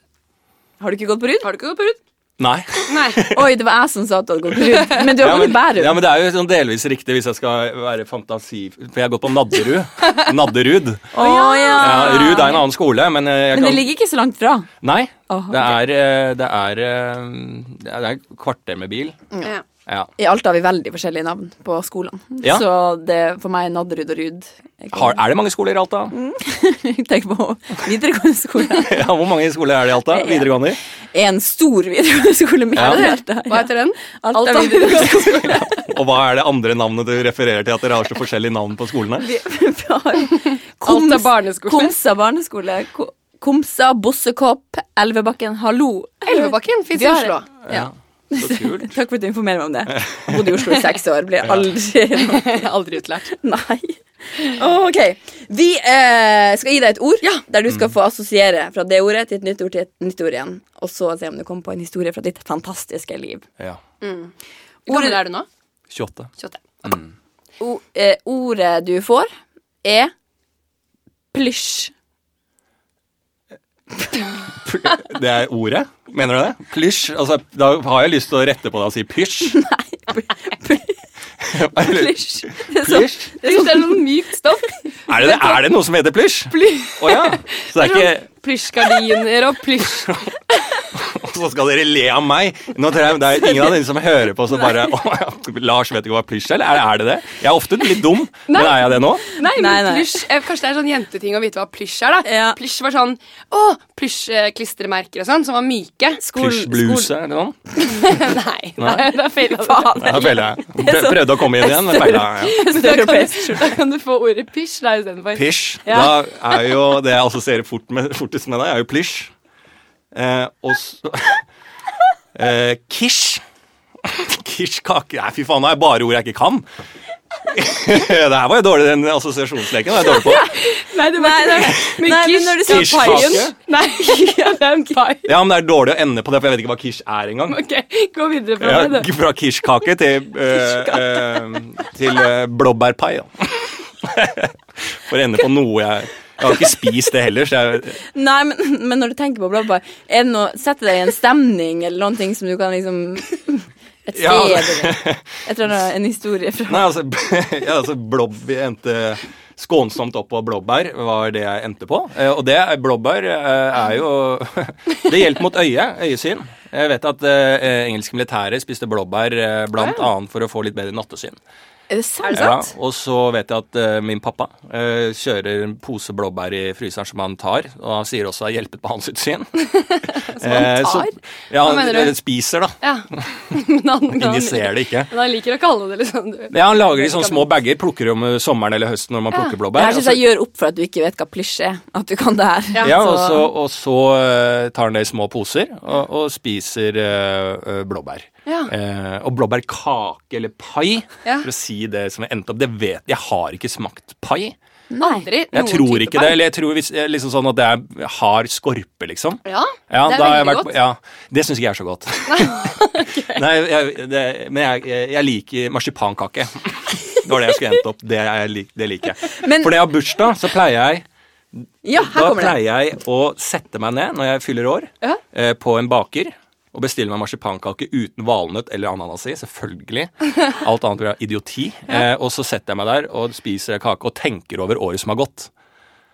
A: Har du ikke gått på Rud?
B: Har du ikke gått på Rud?
C: Nei.
B: Nei.
A: Oi, det var jeg som sa at du hadde gått på Rud. Men du har
C: Ja,
A: gått
C: men,
A: i Bærum.
C: ja, men det er jo sånn delvis riktig hvis jeg skal være fantasi... For jeg har gått på Nadderud. Nadderud.
A: Å, ja.
C: Ja, Rud er en annen skole, men eh, jeg
A: Ah. Men det
C: kan
A: ligger ikke så langt fra.
C: Nei.
A: Åh,
C: det, er, eh, det er eh, Det er det er et kvarter med bil.
B: Ja.
C: Ja.
A: I Alta har vi veldig forskjellige navn på skolene.
C: Ja.
A: Så det er for meg Nadderud og Rud. Jeg kan-
C: Har, er det mange skoler i Alta?
A: Tenk på videregående skole.
C: Ja, Hvor mange skoler er det i Alta?
A: Ja.
C: Videregående?
A: En stor videregående skole midt
C: Ja.
A: i Alta.
B: Hva heter den?
A: Alta
B: Alta
A: videregående skole.
C: Og hva er det andre navnet du refererer til at dere har så forskjellige navn på skolene?
A: Vi har Koms-
B: Alta barneskole.
A: Komsa barneskole. Ko- Komsa, Bossekopp, Elvebakken, hallo.
B: Elvebakken fins
A: Vi
B: i
A: har-
B: Oslo.
A: Ja.
C: Så kult.
A: Takk for at du informerer meg om det. Jeg bodde i Oslo i seks år. Ble aldri
B: Aldri utlært.
A: Nei. Ok. Vi eh, skal gi deg et ord der du skal
B: Mm.
A: få assosiere fra det ordet til et nytt ord til et nytt ord igjen. Og så se om du kommer på en historie fra ditt fantastiske liv.
C: Ja.
B: Hvor gammel er du nå?
C: 28.
B: 28.
A: O eh, ordet du får, er plysj.
C: Pl- Det er ordet? Mener du det? Plysj? Altså, da har jeg lyst til å rette på deg og si pysj. Eller-
A: Plysj. Det er sånn-
C: Plysj?
B: Jeg synes det er noe mykt stoff.
C: Er det, det, er det noe som heter plysj?
B: Ply-
C: Å ja. Så det er
B: Eh.
C: ikke
B: Plysjgardiner og plysj.
C: Og så skal dere le av meg! Nå tror jeg Det er ingen av dere som hører på som bare Å, ja, Lars vet ikke hva plysj er, eller er det det? Jeg er ofte litt dum, men
B: Nei.
C: er jeg det nå?
B: Nei,
A: Nei,
B: men
A: nei.
B: plysj eh, Kanskje det er sånn jenteting å vite hva plysj er, da.
A: Ja.
B: Plysj var sånn Å, plysjklistremerker og sånn, som var myke.
C: Plysjbluse eller noe?
B: Nei, nei, da feila du.
A: Faen.
C: Ja, feila jeg. Prø- Prøvde å komme inn igjen, men feila. jeg.
A: Østeuropeisk.
B: Da kan du få ordet pysj da istedenfor.
C: Pysj.
B: Ja.
C: Da er jo det jeg assosierer fort med, fortest med deg, er jo plysj. Eh, og så eh, Kish. Kish kake. Nei, fy faen, det er bare ord jeg ikke kan. det her var jo dårlig, den assosiasjonsleken var jeg dårlig på.
B: Nei, det
A: Nei, nei, nei, men når du sier
C: Kirsch-
A: paien
C: Kirsch-
B: Nei, ja, det er en pai.
C: Ja, men det er dårlig å ende på det, for jeg vet ikke hva kish er engang.
B: Ok, gå videre fra
C: Ja,
B: det. du.
C: fra kirskake til, eh, eh, til eh, blåbærpai. da. For å ende på noe jeg Jeg har ikke spist det heller, så jeg
A: Nei, men, men når du tenker på blåbær, er det noe Setter deg i en stemning eller noen ting som du kan liksom Et sted
C: Ja.
A: eller et eller annet, en historie fra
C: Nei, altså, ja, altså blåb endte skånsomt opp på blåbær, var det jeg endte på. Eh, Og det er- blåbær eh, er jo Det hjelper mot øyet, øyesyn. Jeg vet at eh, engelske militære spiste blåbær eh, blant annet for å få litt bedre nattesyn.
A: Er det sant?
C: Ja, og så vet jeg at eh, min pappa eh, kjører en pose blåbær i fryseren som han tar, og han sier også har hjulpet på hans utsyn. som
B: han tar?
C: ja,
B: Hva
C: han
B: mener du?
C: eh, spiser, da.
B: Ja. Men han, men han,
C: Ingen ser det ikke.
B: men han liker å kalle det liksom du.
C: Ja, Han lager de sånne små bager, plukker om eh, sommeren eller høsten når man plukker
A: Det
C: blåbær.
A: her syns jeg gjør opp for at du ikke vet hva plysj er. At du kan det her.
C: altså- Ja, altså- og
B: Altså-
A: Så-
C: så, og så eh, tar han det i små poser og, og spiser eh, eh, blåbær.
B: Ja.
C: Eh, og blåbærkake eller pai,
B: Ja.
C: for å si det som jeg endte opp Det vet jeg, jeg har ikke smakt pai.
A: Nei.
B: Aldri
C: Jeg
B: noen
C: tror
B: type
C: ikke
B: pai.
C: det. Eller jeg tror hvis, eh, liksom sånn at det er hard skorpe, liksom.
B: Ja,
C: Ja,
B: det er
C: da har jeg
B: veldig
C: vært,
B: godt.
C: Ja, det syns ikke jeg er så godt. Nei, jeg, det, Men jeg, jeg liker marsipankake. Det var det jeg skulle endt opp. Det, er jeg, lik- det liker jeg.
A: Men-
C: For når jeg har bursdag, så pleier jeg
A: Ja, her
C: da
A: kommer det.
C: pleier jeg å sette meg ned når jeg fyller år,
B: Ja.
C: eh, på en baker og bestille meg marsipankake uten valnøtt eller ananas i. Selvfølgelig. Alt annet er idioti. Eh, og så setter jeg meg der og spiser kake og tenker over året som har gått.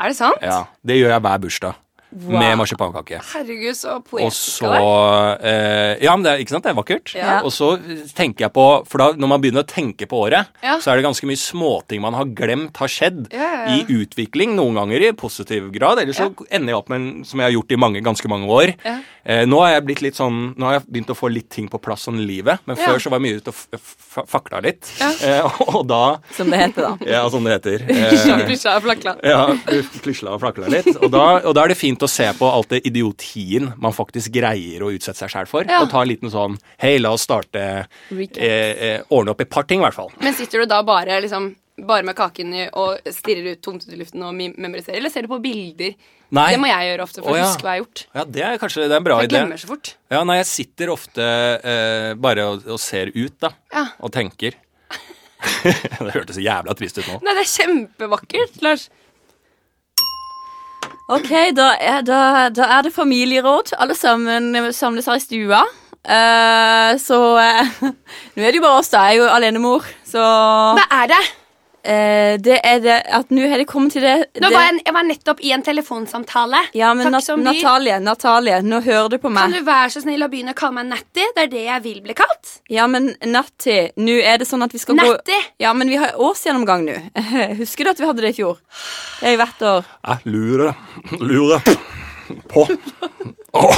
B: Er det sant?
C: Ja, Det gjør jeg hver bursdag. Med marsipankake.
B: Herregud, så
C: Og
B: poetisk
C: så
B: av deg.
C: eh, Ja, men det er, ikke sant, det er vakkert.
A: Ja.
C: Og så tenker jeg på For da, når man begynner å tenke på året,
B: Ja.
C: så er det ganske mye småting man har glemt har skjedd
B: Ja, ja, ja.
C: i utvikling, noen ganger i positiv grad. Eller så ender jeg opp med en som jeg har gjort i mange, ganske mange år.
B: Ja.
C: Eh, nå har jeg blitt litt sånn Nå har jeg begynt å få litt ting på plass sånn i livet, men
B: Ja.
C: før så var jeg mye ute og f- f- fakla litt. Eh, og da
A: Som det heter, da.
C: Ja, som det heter. Eh,
B: Pysja og flakla.
C: ja, klisla og flakla litt. Og da, og da er det fint å se på alt det idiotien man faktisk greier å utsette seg sjæl for.
B: Ja.
C: Og ta en liten sånn Hei, la oss starte eh,
A: Recap.
C: eh, Ordne opp et par ting, i hvert fall.
B: Men sitter du da bare, liksom, bare med kaken i og stirrer ut tomt ut i luften og mim- memoriserer, eller ser du på bilder?
C: Nei.
B: Det må jeg gjøre ofte for
C: Å,
B: å
C: ja.
B: huske hva jeg har gjort.
C: Ja, det er kanskje det er en bra
B: Jeg
C: idé.
B: glemmer så fort.
C: Ja, nei, jeg sitter ofte eh, bare og, og ser ut, da.
B: Ja.
C: Og tenker. det hørtes så jævla trist ut nå.
B: Nei, det er kjempevakkert, Lars.
A: Ok, da er, da, da er det familieråd. Alle sammen eh, samles her i stua. Eh, så eh, Nå er det jo bare oss, da. Jeg er jo alenemor. Så
B: Hva er det?
A: eh, det er det at nå har det kommet til det,
B: Nå
A: det
B: var jeg, jeg var nettopp i en telefonsamtale.
A: Ja, men
B: Takk
A: Nat
B: som vi-
A: Natalie, Natalie, nå hører du på
B: Kan
A: meg.
B: du være så snill å begynne å kalle meg Natty? Det er det jeg vil bli kalt.
A: Ja, men Natti, nå er det sånn at vi skal gå
B: Natty!
A: Ja, men vi har årsgjennomgang nå. Husker du at vi hadde det i fjor? Det er jo hvert år.
C: Jeg lurer, lurer på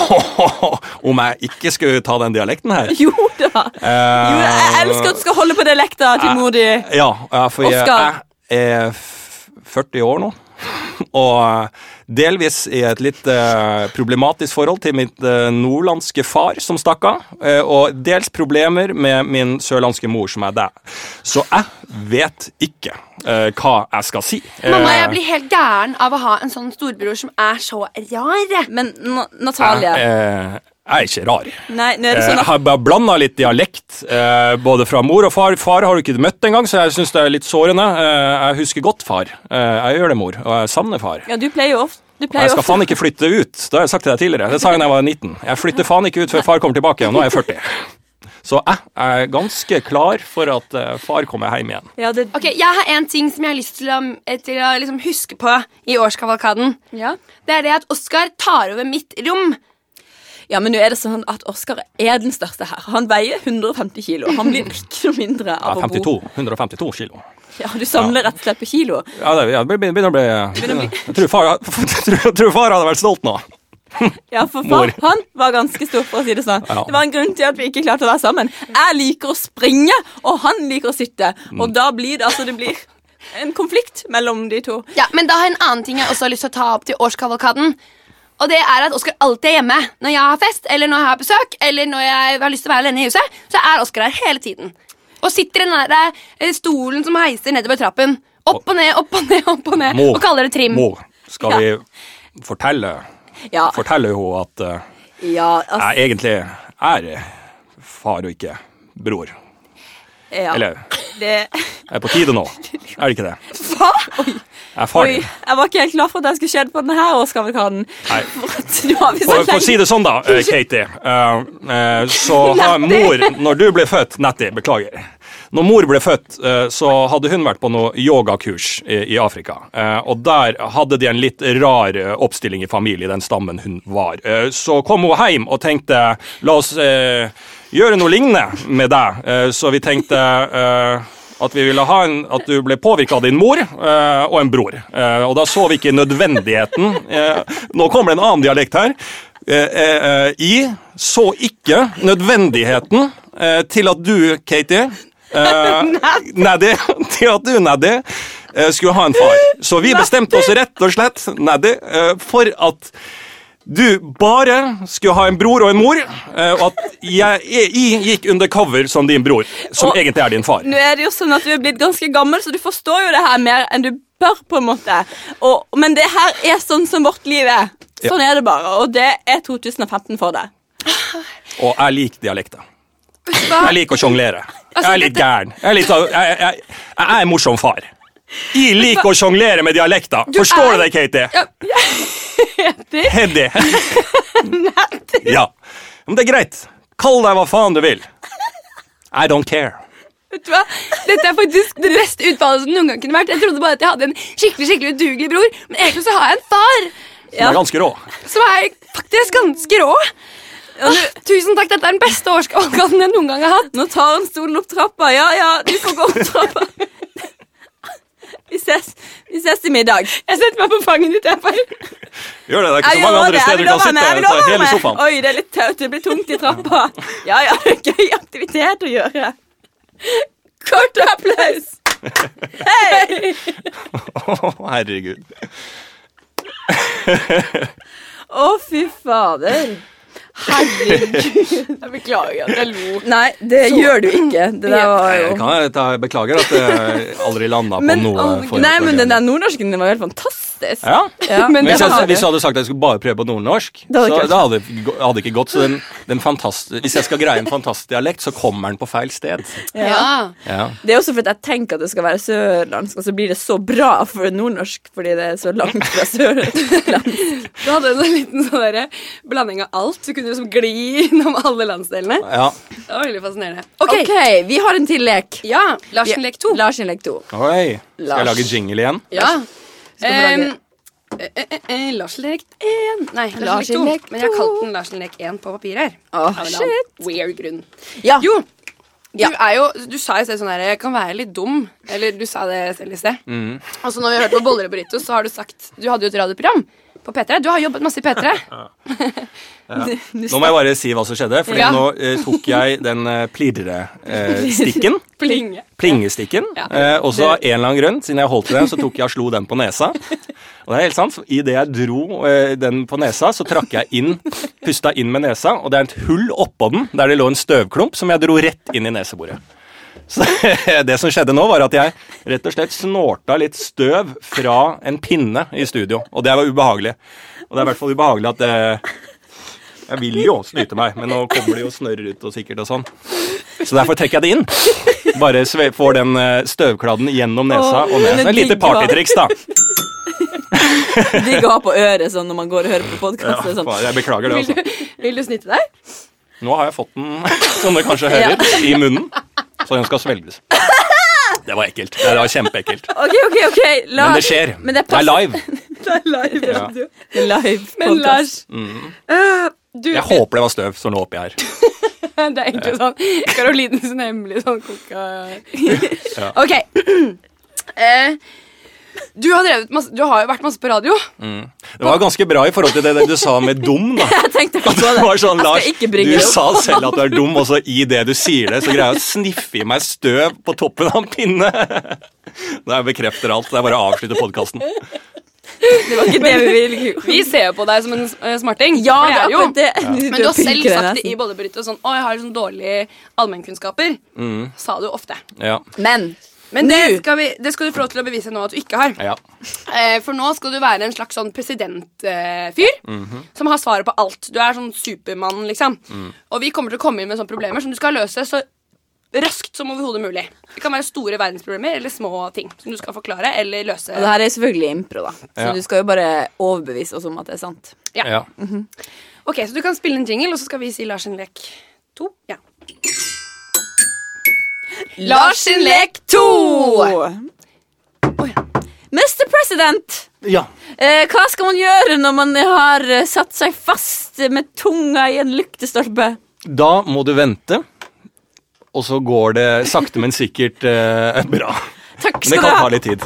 C: om jeg ikke skulle ta den dialekten her.
A: Jo da! Jo, jeg elsker at du skal holde på dialekta til mor di.
C: Ja, ja, for jeg,
A: Oskar.
C: jeg er f- 40 år nå. Og eh, delvis i et litt eh, problematisk forhold til mitt eh, nordlandske far som stakk av. eh, og dels problemer med min sørlandske mor som er deg. Så jeg vet ikke eh, hva jeg skal si.
B: Mamma,
C: Eh,
B: jeg blir helt gæren av å ha en sånn storbror som er så rar.
A: Men Na- Natalie
C: eh, jeg er ikke rar.
A: Nei, nå er det
C: Eh,
A: sånn
C: Jeg
A: at
C: har blanda litt dialekt, eh, både fra mor og far. Far har du ikke møtt engang, så jeg syns det er litt sårende. Eh, jeg husker godt far. Eh, jeg gjør det, mor, og jeg savner far.
A: Ja, du pleier jo ofte du
C: Og
A: pleier
C: jeg
A: jo
C: skal
A: ofte.
C: faen ikke flytte ut. Det har jeg sagt til deg tidligere. Det sa jeg da jeg var 19. Jeg flytter faen ikke ut før far kommer tilbake, og nå er jeg 40. Så jeg er ganske klar for at eh, far kommer hjem igjen.
A: Ja, det,
B: Ok, Jeg har en ting som jeg har lyst til å, eh, til å liksom huske på i årskavalkaden.
A: ja.
B: Det er det at Oskar tar over mitt rom.
A: ja, men nå er det sånn at Oskar er den største her. Han veier 150 kilo. Han blir ikke noe mindre
C: Ja,
A: av å bo
C: 52, 152 kilo.
A: Ja, Du samler rett og slett på kilo.
C: Ja, det ja, det begynner å bli Jeg tror far, jeg tror, jeg tror far hadde vært stolt nå.
A: Ja, for
C: Mor.
A: far, han var ganske stor, for å si det sånn.
C: Ja.
A: Det var en grunn til at vi ikke klarte å være sammen. Jeg liker å springe, og han liker å sitte.
D: Mm.
A: Og da blir det altså det blir en konflikt mellom de to.
B: Ja, Men da har jeg en annen ting jeg også har lyst til å ta opp til årskavalkaden. Og det er at Oskar alltid er hjemme når jeg har fest eller når jeg har besøk. Eller når jeg har lyst til å være alene i huset, så er Oskar her hele tiden. og sitter i den der eh, stolen som heiser nedover trappen. Opp og ned, opp og ned, opp og ned.
D: Må-
B: Og kaller det trim.
D: Må, skal vi fortelle
A: Ja.
D: Forteller hun at eh,
A: Ja, altså,
D: jeg egentlig er far og ikke bror.
A: ja.
D: Eller
A: det
D: er på tide nå, er det ikke det?
A: Hva?! Oi,
D: Jeg er far.
A: oi, jeg var ikke helt klar for at jeg skulle skjedd på denne her Oscar-vulkanen.
D: Nei.
A: Nå har vi så
D: For, for å si
A: lenge
D: det sånn, da, eh, Katie. eh, eh, så har mor, når du ble født Nettie, beklager. Når mor ble født, eh, så hadde hun vært på noe yogakurs i, i Afrika. Eh, og der hadde de en litt rar eh, oppstilling i familie, den stammen hun var. Eh, så kom hun hjem og tenkte la oss eh, gjøre noe lignende med deg. Eh, så vi tenkte eh, at vi ville ha en, at du ble påvirka av din mor eh, og en bror. Eh, og da så vi ikke nødvendigheten eh, Nå kommer det en annen dialekt her. Eh, eh, eh, I så ikke nødvendigheten eh, til at du, Katie eh, Neddy. Til at du, Neddy, eh, skulle ha en far. Så vi bestemte oss rett og slett, Neddy, eh, for at du bare skulle ha en bror og en mor, eh, og at jeg, jeg gikk undercover som din bror, som
A: Og-
D: egentlig er din far.
A: Nå er det jo sånn at du er blitt ganske gammel, så du forstår jo det her mer enn du bør. på en måte og, Men det her er sånn som vårt liv er. Sånn er det bare, og det er 2015 for deg.
D: Og jeg liker dialekter. Jeg liker å sjonglere.
A: Altså,
D: Jeg er litt gæren. Jeg er, litt, av- jeg, jeg, jeg er en morsom far. Jeg liker å sjonglere med dialekter. Forstår du det, Katie? Heddy. Ja. Men det er greit. Kall deg hva faen du vil. I don't care.
B: Vet du hva? Dette er faktisk det beste utfallet som noen gang kunne vært. Jeg trodde bare at jeg hadde en skikkelig skikkelig udugelig bror, men egentlig så har jeg en far
D: Du er ganske rå.
B: som er faktisk ganske rå. Åh, tusen takk, dette er den beste årskallen jeg noen gang har hatt.
A: Nå tar han stolen opp trappa. Ja, ja, du får gå opp trappa. Vi ses, vi ses i middag.
B: Jeg setter meg på fanget ditt. jeg bare...
D: Gjør det. Det er ikke
A: Jeg
D: så mange
A: lover
D: andre
A: det, jeg
D: steder du kan
A: lover meg,
D: sitte.
A: jeg
D: Så
A: lover
D: hele
A: meg.
D: sofaen.
A: Oi, det er litt taut. Det blir tungt i trappa. Ja, ja, det er gøy aktivitet å gjøre. Kort applaus! Hei!
D: Å, herregud.
A: Å, fy fader. Herregud.
B: Jeg beklager at jeg lo.
A: Nei, det gjør du ikke. Det der var
D: Jeg
A: jo
D: kan jeg ta, beklager at jeg aldri landa på
A: men,
D: noe. for-
A: Nei,
D: for-
A: men den der nordnorsken den var helt fantastisk.
D: Ja.
A: Ja,
D: Men
A: det
D: hvis,
A: var
D: jeg,
A: det.
D: hvis jeg hadde sagt at jeg skulle bare prøve på nordnorsk,
A: hadde
D: så
A: ikke vært.
D: da hadde det gå- hadde ikke gått. Så den, den fantast- hvis jeg skal greie en fantastisk dialekt, så kommer den på feil sted.
F: Ja.
D: Ja.
A: Det er også fordi jeg tenker at det skal være sørlandsk, og så blir det så bra for nordnorsk fordi det er så langt fra sørlandsk.
B: Du hadde en sånn liten sånn derre blanding av alt. Du kunne liksom gli innom alle landsdelene.
D: ja.
B: Det var veldig fascinerende.
A: Ok, vi har en til lek.
B: Ja, Larsen lek 2.
A: Larsen lek 2.
D: Oi. Skal
A: Lars.
D: jeg lage jingle igjen?
B: Ja.
A: vi lage-
B: Um, eh, eh, eh, Larsen lek 1 Nei, Larsen
A: Larsen lek
B: lek 2. Men jeg har
A: to.
B: kalt den Larsen lek 1 på papir her.
A: Åh,
B: Av en
A: shit.
B: eller annen Weird grunn.
A: Ja.
B: Jo, du
A: Ja.
B: er jo Du sa i sted sånn her Jeg kan være litt dum. Eller du sa det selv i sted.
D: Mm.
B: Og så når vi har hørt på Boller og burritos, så har du sagt Du hadde jo et radioprogram på P3. Du har jobbet masse i P3.
D: Nå må jeg bare si hva som skjedde, for
B: Ja.
D: nå eh, tok jeg den eh, plirre-stikken.
B: Pling.
D: Plingestikken.
B: Ja.
D: Eh, og så av en eller annen grunn, siden jeg holdt i den, så tok jeg og slo den på nesa. Og det er helt sant, for Idet jeg dro eh, den på nesa, så trakk jeg inn, pusta inn med nesa, og det er et hull oppå den der det lå en støvklump som jeg dro rett inn i neseboret. Så det som skjedde nå, var at jeg rett og slett snorta litt støv fra en pinne i studio. Og det var ubehagelig. Og det er i hvert fall ubehagelig at eh, Jeg vil jo snyte meg, men nå kommer det jo snørr ut og sikkert og sånn. Så derfor trekker jeg det inn. Bare sve får den eh, støvkladden gjennom nesa
A: Åh,
D: og ned.
A: men
D: Så Et lite
A: digg, hva?
D: partytriks, da.
A: Digg å ha på øret sånn når man går og hører på podkast.
D: Ja,
A: sånn.
D: Ah, faen, jeg beklager det,
B: Vil
D: altså.
B: du, vil du snitte deg?
D: Nå har jeg fått den, som du kanskje hører, i munnen. Så den skal svelges. Det var ekkelt. Det var kjempeekkelt.
A: Ok, ok, Ah, ok. Lars.
D: Men det skjer.
A: Men det er,
D: det er
A: pass-
D: live.
B: Det er live
D: Ja.
B: radio.
A: live
B: Men
A: podcast.
B: Lars, øh, du,
D: Jeg håper det var støv som lå oppi her.
B: det er egentlig sånn Karolines hemmelige sånn koka...
D: Ja.
B: Ok. Eh, du, har drevet masse, du har jo vært masse på radio.
D: Det var ganske bra i forhold til det, det du sa med dum, da.
A: Jeg tenkte ikke
D: Det
A: på det.
D: var sånn,
A: jeg
D: Lars,
A: skal ikke
D: du
A: bringe det opp.
D: sa selv at du er dum, og så i det du sier det, så greier jeg å sniffe i meg støv på toppen av en pinne. Det bekrefter alt. Det er bare å avslutte podkasten.
A: Det var ikke det vi ville.
B: Vi ser jo på deg som en eh, smarting.
A: Ja,
B: for
A: det er
B: jo.
A: akkurat det.
B: Men du har selv
A: pirker deg
B: sagt det
A: nesten.
B: i bollebrytet sånn Å, jeg har sånn dårlige allmennkunnskaper. Sa du ofte.
D: Ja.
A: Men
G: Men det
A: Nå.
G: skal, vi, det skal du få lov til å bevise nå at du ikke har.
D: ja.
B: Eh, for nå skal du være en slags sånn presidentfyr eh, fyr, som har svaret på alt. Du er sånn Supermann, liksom. Og vi kommer til å komme inn med sånne problemer som du skal løse så raskt som overhodet mulig. Det kan være store verdensproblemer eller små ting som du skal forklare eller løse.
A: Og det her er selvfølgelig impro, da. Så
D: Ja.
A: du skal jo bare overbevise oss om at det er sant.
B: Ja.
D: ja.
B: Ok, Så du kan spille en jingle, og så skal vi si Lars sin lek to. Ja. Lars sin lek to!
A: Mr. President!
D: ja.
A: Eh, hva skal man gjøre når man har eh, satt seg fast med tunga i en lyktestolpe?
D: Da må du vente, og så går det sakte, men sikkert eh, bra.
A: Takk
D: Men
A: skal
D: det
A: du
D: kan ta
A: ha.
D: litt tid.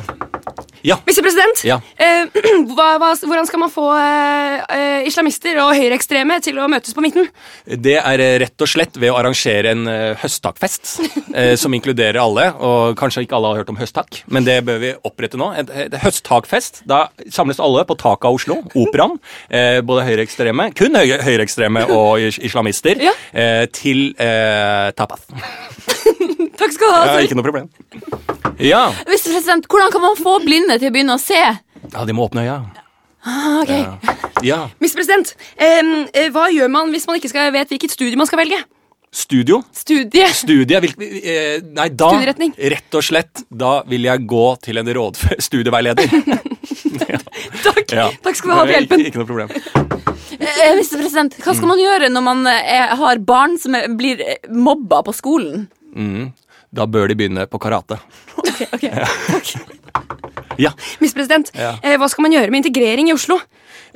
D: Ja.
B: Visepresident,
D: Ja.
B: eh, hva, hva, hvordan skal man få eh, eh, islamister og høyreekstreme til å møtes på midten?
D: Det er eh, rett og slett ved å arrangere en eh, høsttakfest eh, som inkluderer alle. Og kanskje ikke alle har hørt om høsttak, men det bør vi opprette nå. Et, et høsttakfest. Da samles alle på taket av Oslo, Operaen. Eh, både høyreekstreme, kun høy, høyreekstreme og is- islamister,
B: Ja.
D: eh, til eh, tapas.
B: Takk skal du ha.
D: Ja,
B: Sir.
D: ikke noe problem. Ja.
A: Mr. President, hvordan kan man få blinde til å begynne å se?
D: ja, de må åpne øya.
A: Ah, ok.
D: Ja.
B: Visepresident, em, eh, hva gjør man hvis man ikke skal, vet hvilket studie man skal velge?
D: Studio.
B: Studie.
D: Studie vil, eh, Nei, da
B: Studieretning.
D: Rett og slett, da vil jeg gå til en rådf- studieveileder.
B: Takk,
D: Ja.
B: Takk skal du ha for hjelpen.
D: Ikke, ikke noe problem.
A: Eh, Mr. President, hva skal man gjøre når man eh, har barn som er, blir eh, mobba på skolen?
D: Da bør de begynne på karate.
A: Ok, ok.
D: Ja.
B: Visepresident,
D: Ja.
B: eh, hva skal man gjøre med integrering i Oslo?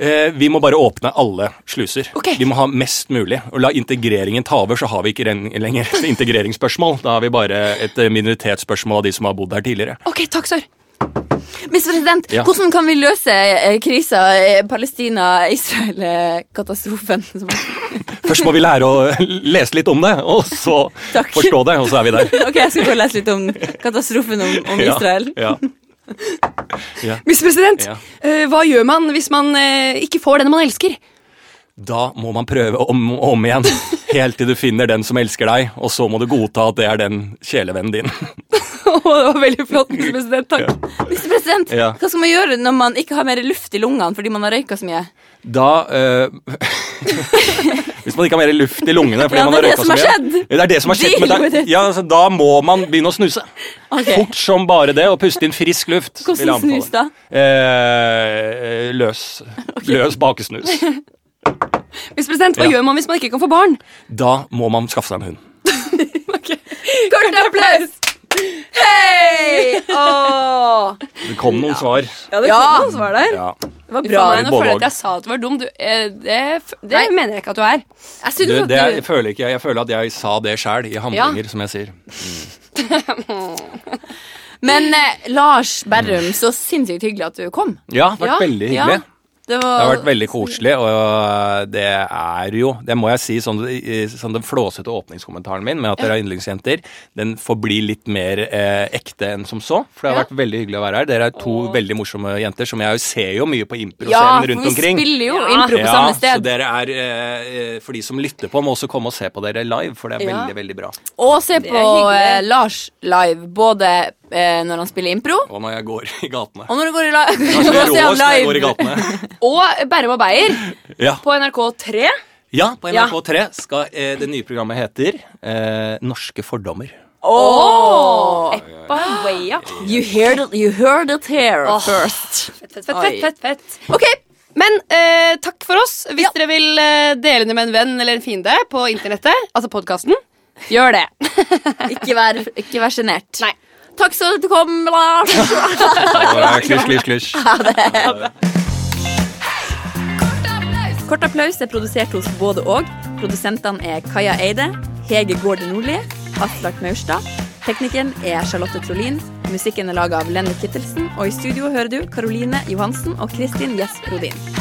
D: Eh, vi må bare åpne alle sluser.
B: Ok.
D: Vi må ha mest mulig. Og la integreringen ta over, så har vi ikke ren- lenger et integreringsspørsmål. Da har vi bare et eh, minoritetsspørsmål av de som har bodd her tidligere.
B: Ok, takk, sir.
A: Mr. President,
D: Ja.
A: hvordan kan vi løse eh, krisa eh, Palestina-Israel-katastrofen?
D: Først må vi lære å lese litt om det, og så
A: Takk.
D: forstå det, og så er vi der.
A: ok, jeg skal gå og lese litt om katastrofen om, om Israel.
D: Ja, ja.
B: Visepresident,
D: Ja.
B: eh, hva gjør man hvis man eh, ikke får den man elsker?
D: Da må man prøve om og om igjen, helt til du finner den som elsker deg, og så må du godta at det er den kjælevennen din.
B: Å, det var veldig flott, visepresident. Takk.
A: Mr. President,
D: Ja.
A: hva skal man gjøre når man ikke har mer luft i lungene fordi man har røyka så mye?
D: Da eh, Hvis man ikke har mer luft i lungene fordi
A: Ja,
D: man
A: det
D: har
A: er det
D: røyka
A: som
D: så
A: har
D: mye.
A: skjedd.
D: Det er det som har skjedd. Men
A: Deal with
D: da,
A: it.
D: ja, altså, da må man begynne å snuse.
A: Ok.
D: Fort som bare det, og puste inn frisk luft.
A: Hvordan
D: vil jeg anbefale.
A: snus da?
D: Eh, løs. Løs bakesnus.
B: Visepresident, hva
D: Ja.
B: gjør man hvis man ikke kan få barn?
D: Da må man skaffe seg en hund.
A: Kort applaus! Hei! Åh!
D: Det kom noen svar.
B: Ja, det
A: Ja.
B: kom noen svar der.
D: Ja.
A: Det var
B: Bra,
A: bra.
B: Nei, nå føler jeg
D: Både og.
B: at jeg sa at du var dum. Du, eh, det f- det
A: Nei.
B: mener jeg ikke at du er.
A: Jeg
D: Du,
A: synes
D: det er, jeg
A: at du...
D: føler ikke jeg. Jeg føler at jeg sa det sjæl i handlinger, som jeg sier.
A: Men eh, Lars Berrum, så sinnssykt hyggelig at du kom.
D: Ja, det har vært veldig hyggelig.
A: Ja, det
D: Det
A: var...
D: har vært veldig koselig, og eh, det er jo Det må jeg si, sånn, i- sånn den flåsete åpningskommentaren min med at dere er yndlingsjenter, den får bli litt mer eh, ekte enn som så. For det har vært veldig hyggelig å være her. Dere er to veldig morsomme jenter som jeg jo ser jo mye på
A: ja,
D: improscenen
A: for
D: rundt
A: vi
D: omkring.
A: spiller jo
B: Ja.
A: impro på
D: Ja,
A: samme
D: så
A: sted.
D: dere er eh, eh, For de som lytter på, må også komme og se på dere live, for det er
B: Ja.
D: veldig, veldig bra.
A: Og se på
B: hyggelig.
A: eh, Lars live, både eh, når han spiller impro,
D: Og når jeg går i gatene.
A: og når du går i live.
D: Kanskje
A: Og se
D: jeg er
A: han
D: råest når jeg går i
A: live.
D: gatene.
B: Og Berrum og Beyer
D: Ja.
B: på NRK3.
D: Ja, på
B: Ja.
D: NRK3 skal eh, det nye programmet heter eh, Norske fordommer.
A: Åh!
B: By way up.
A: You heard it, you heard it here first.
B: Fett, fett, fett,
A: Oi.
B: fett, fett, fett.
A: Ok,
B: Men eh, takk for oss. Hvis
A: Ja.
B: dere vil eh, dele det med en venn eller en fiende på internettet, altså podkasten, gjør det.
A: ikke vær, ikke vær sjenert.
B: Nei.
A: Takk skal du kom, Lars.
D: Klisj, klisj, klisj.
A: Kort applaus er produsert hos både og. Produsentene er Kaja Eide, Hege Gård Nordli, Aslak Maurstad. Teknikeren er Charlotte Trolin. Musikken er laga av Lenny Kittelsen. Og i studio hører du Karoline Johansen og Kristin Gjess Rodin.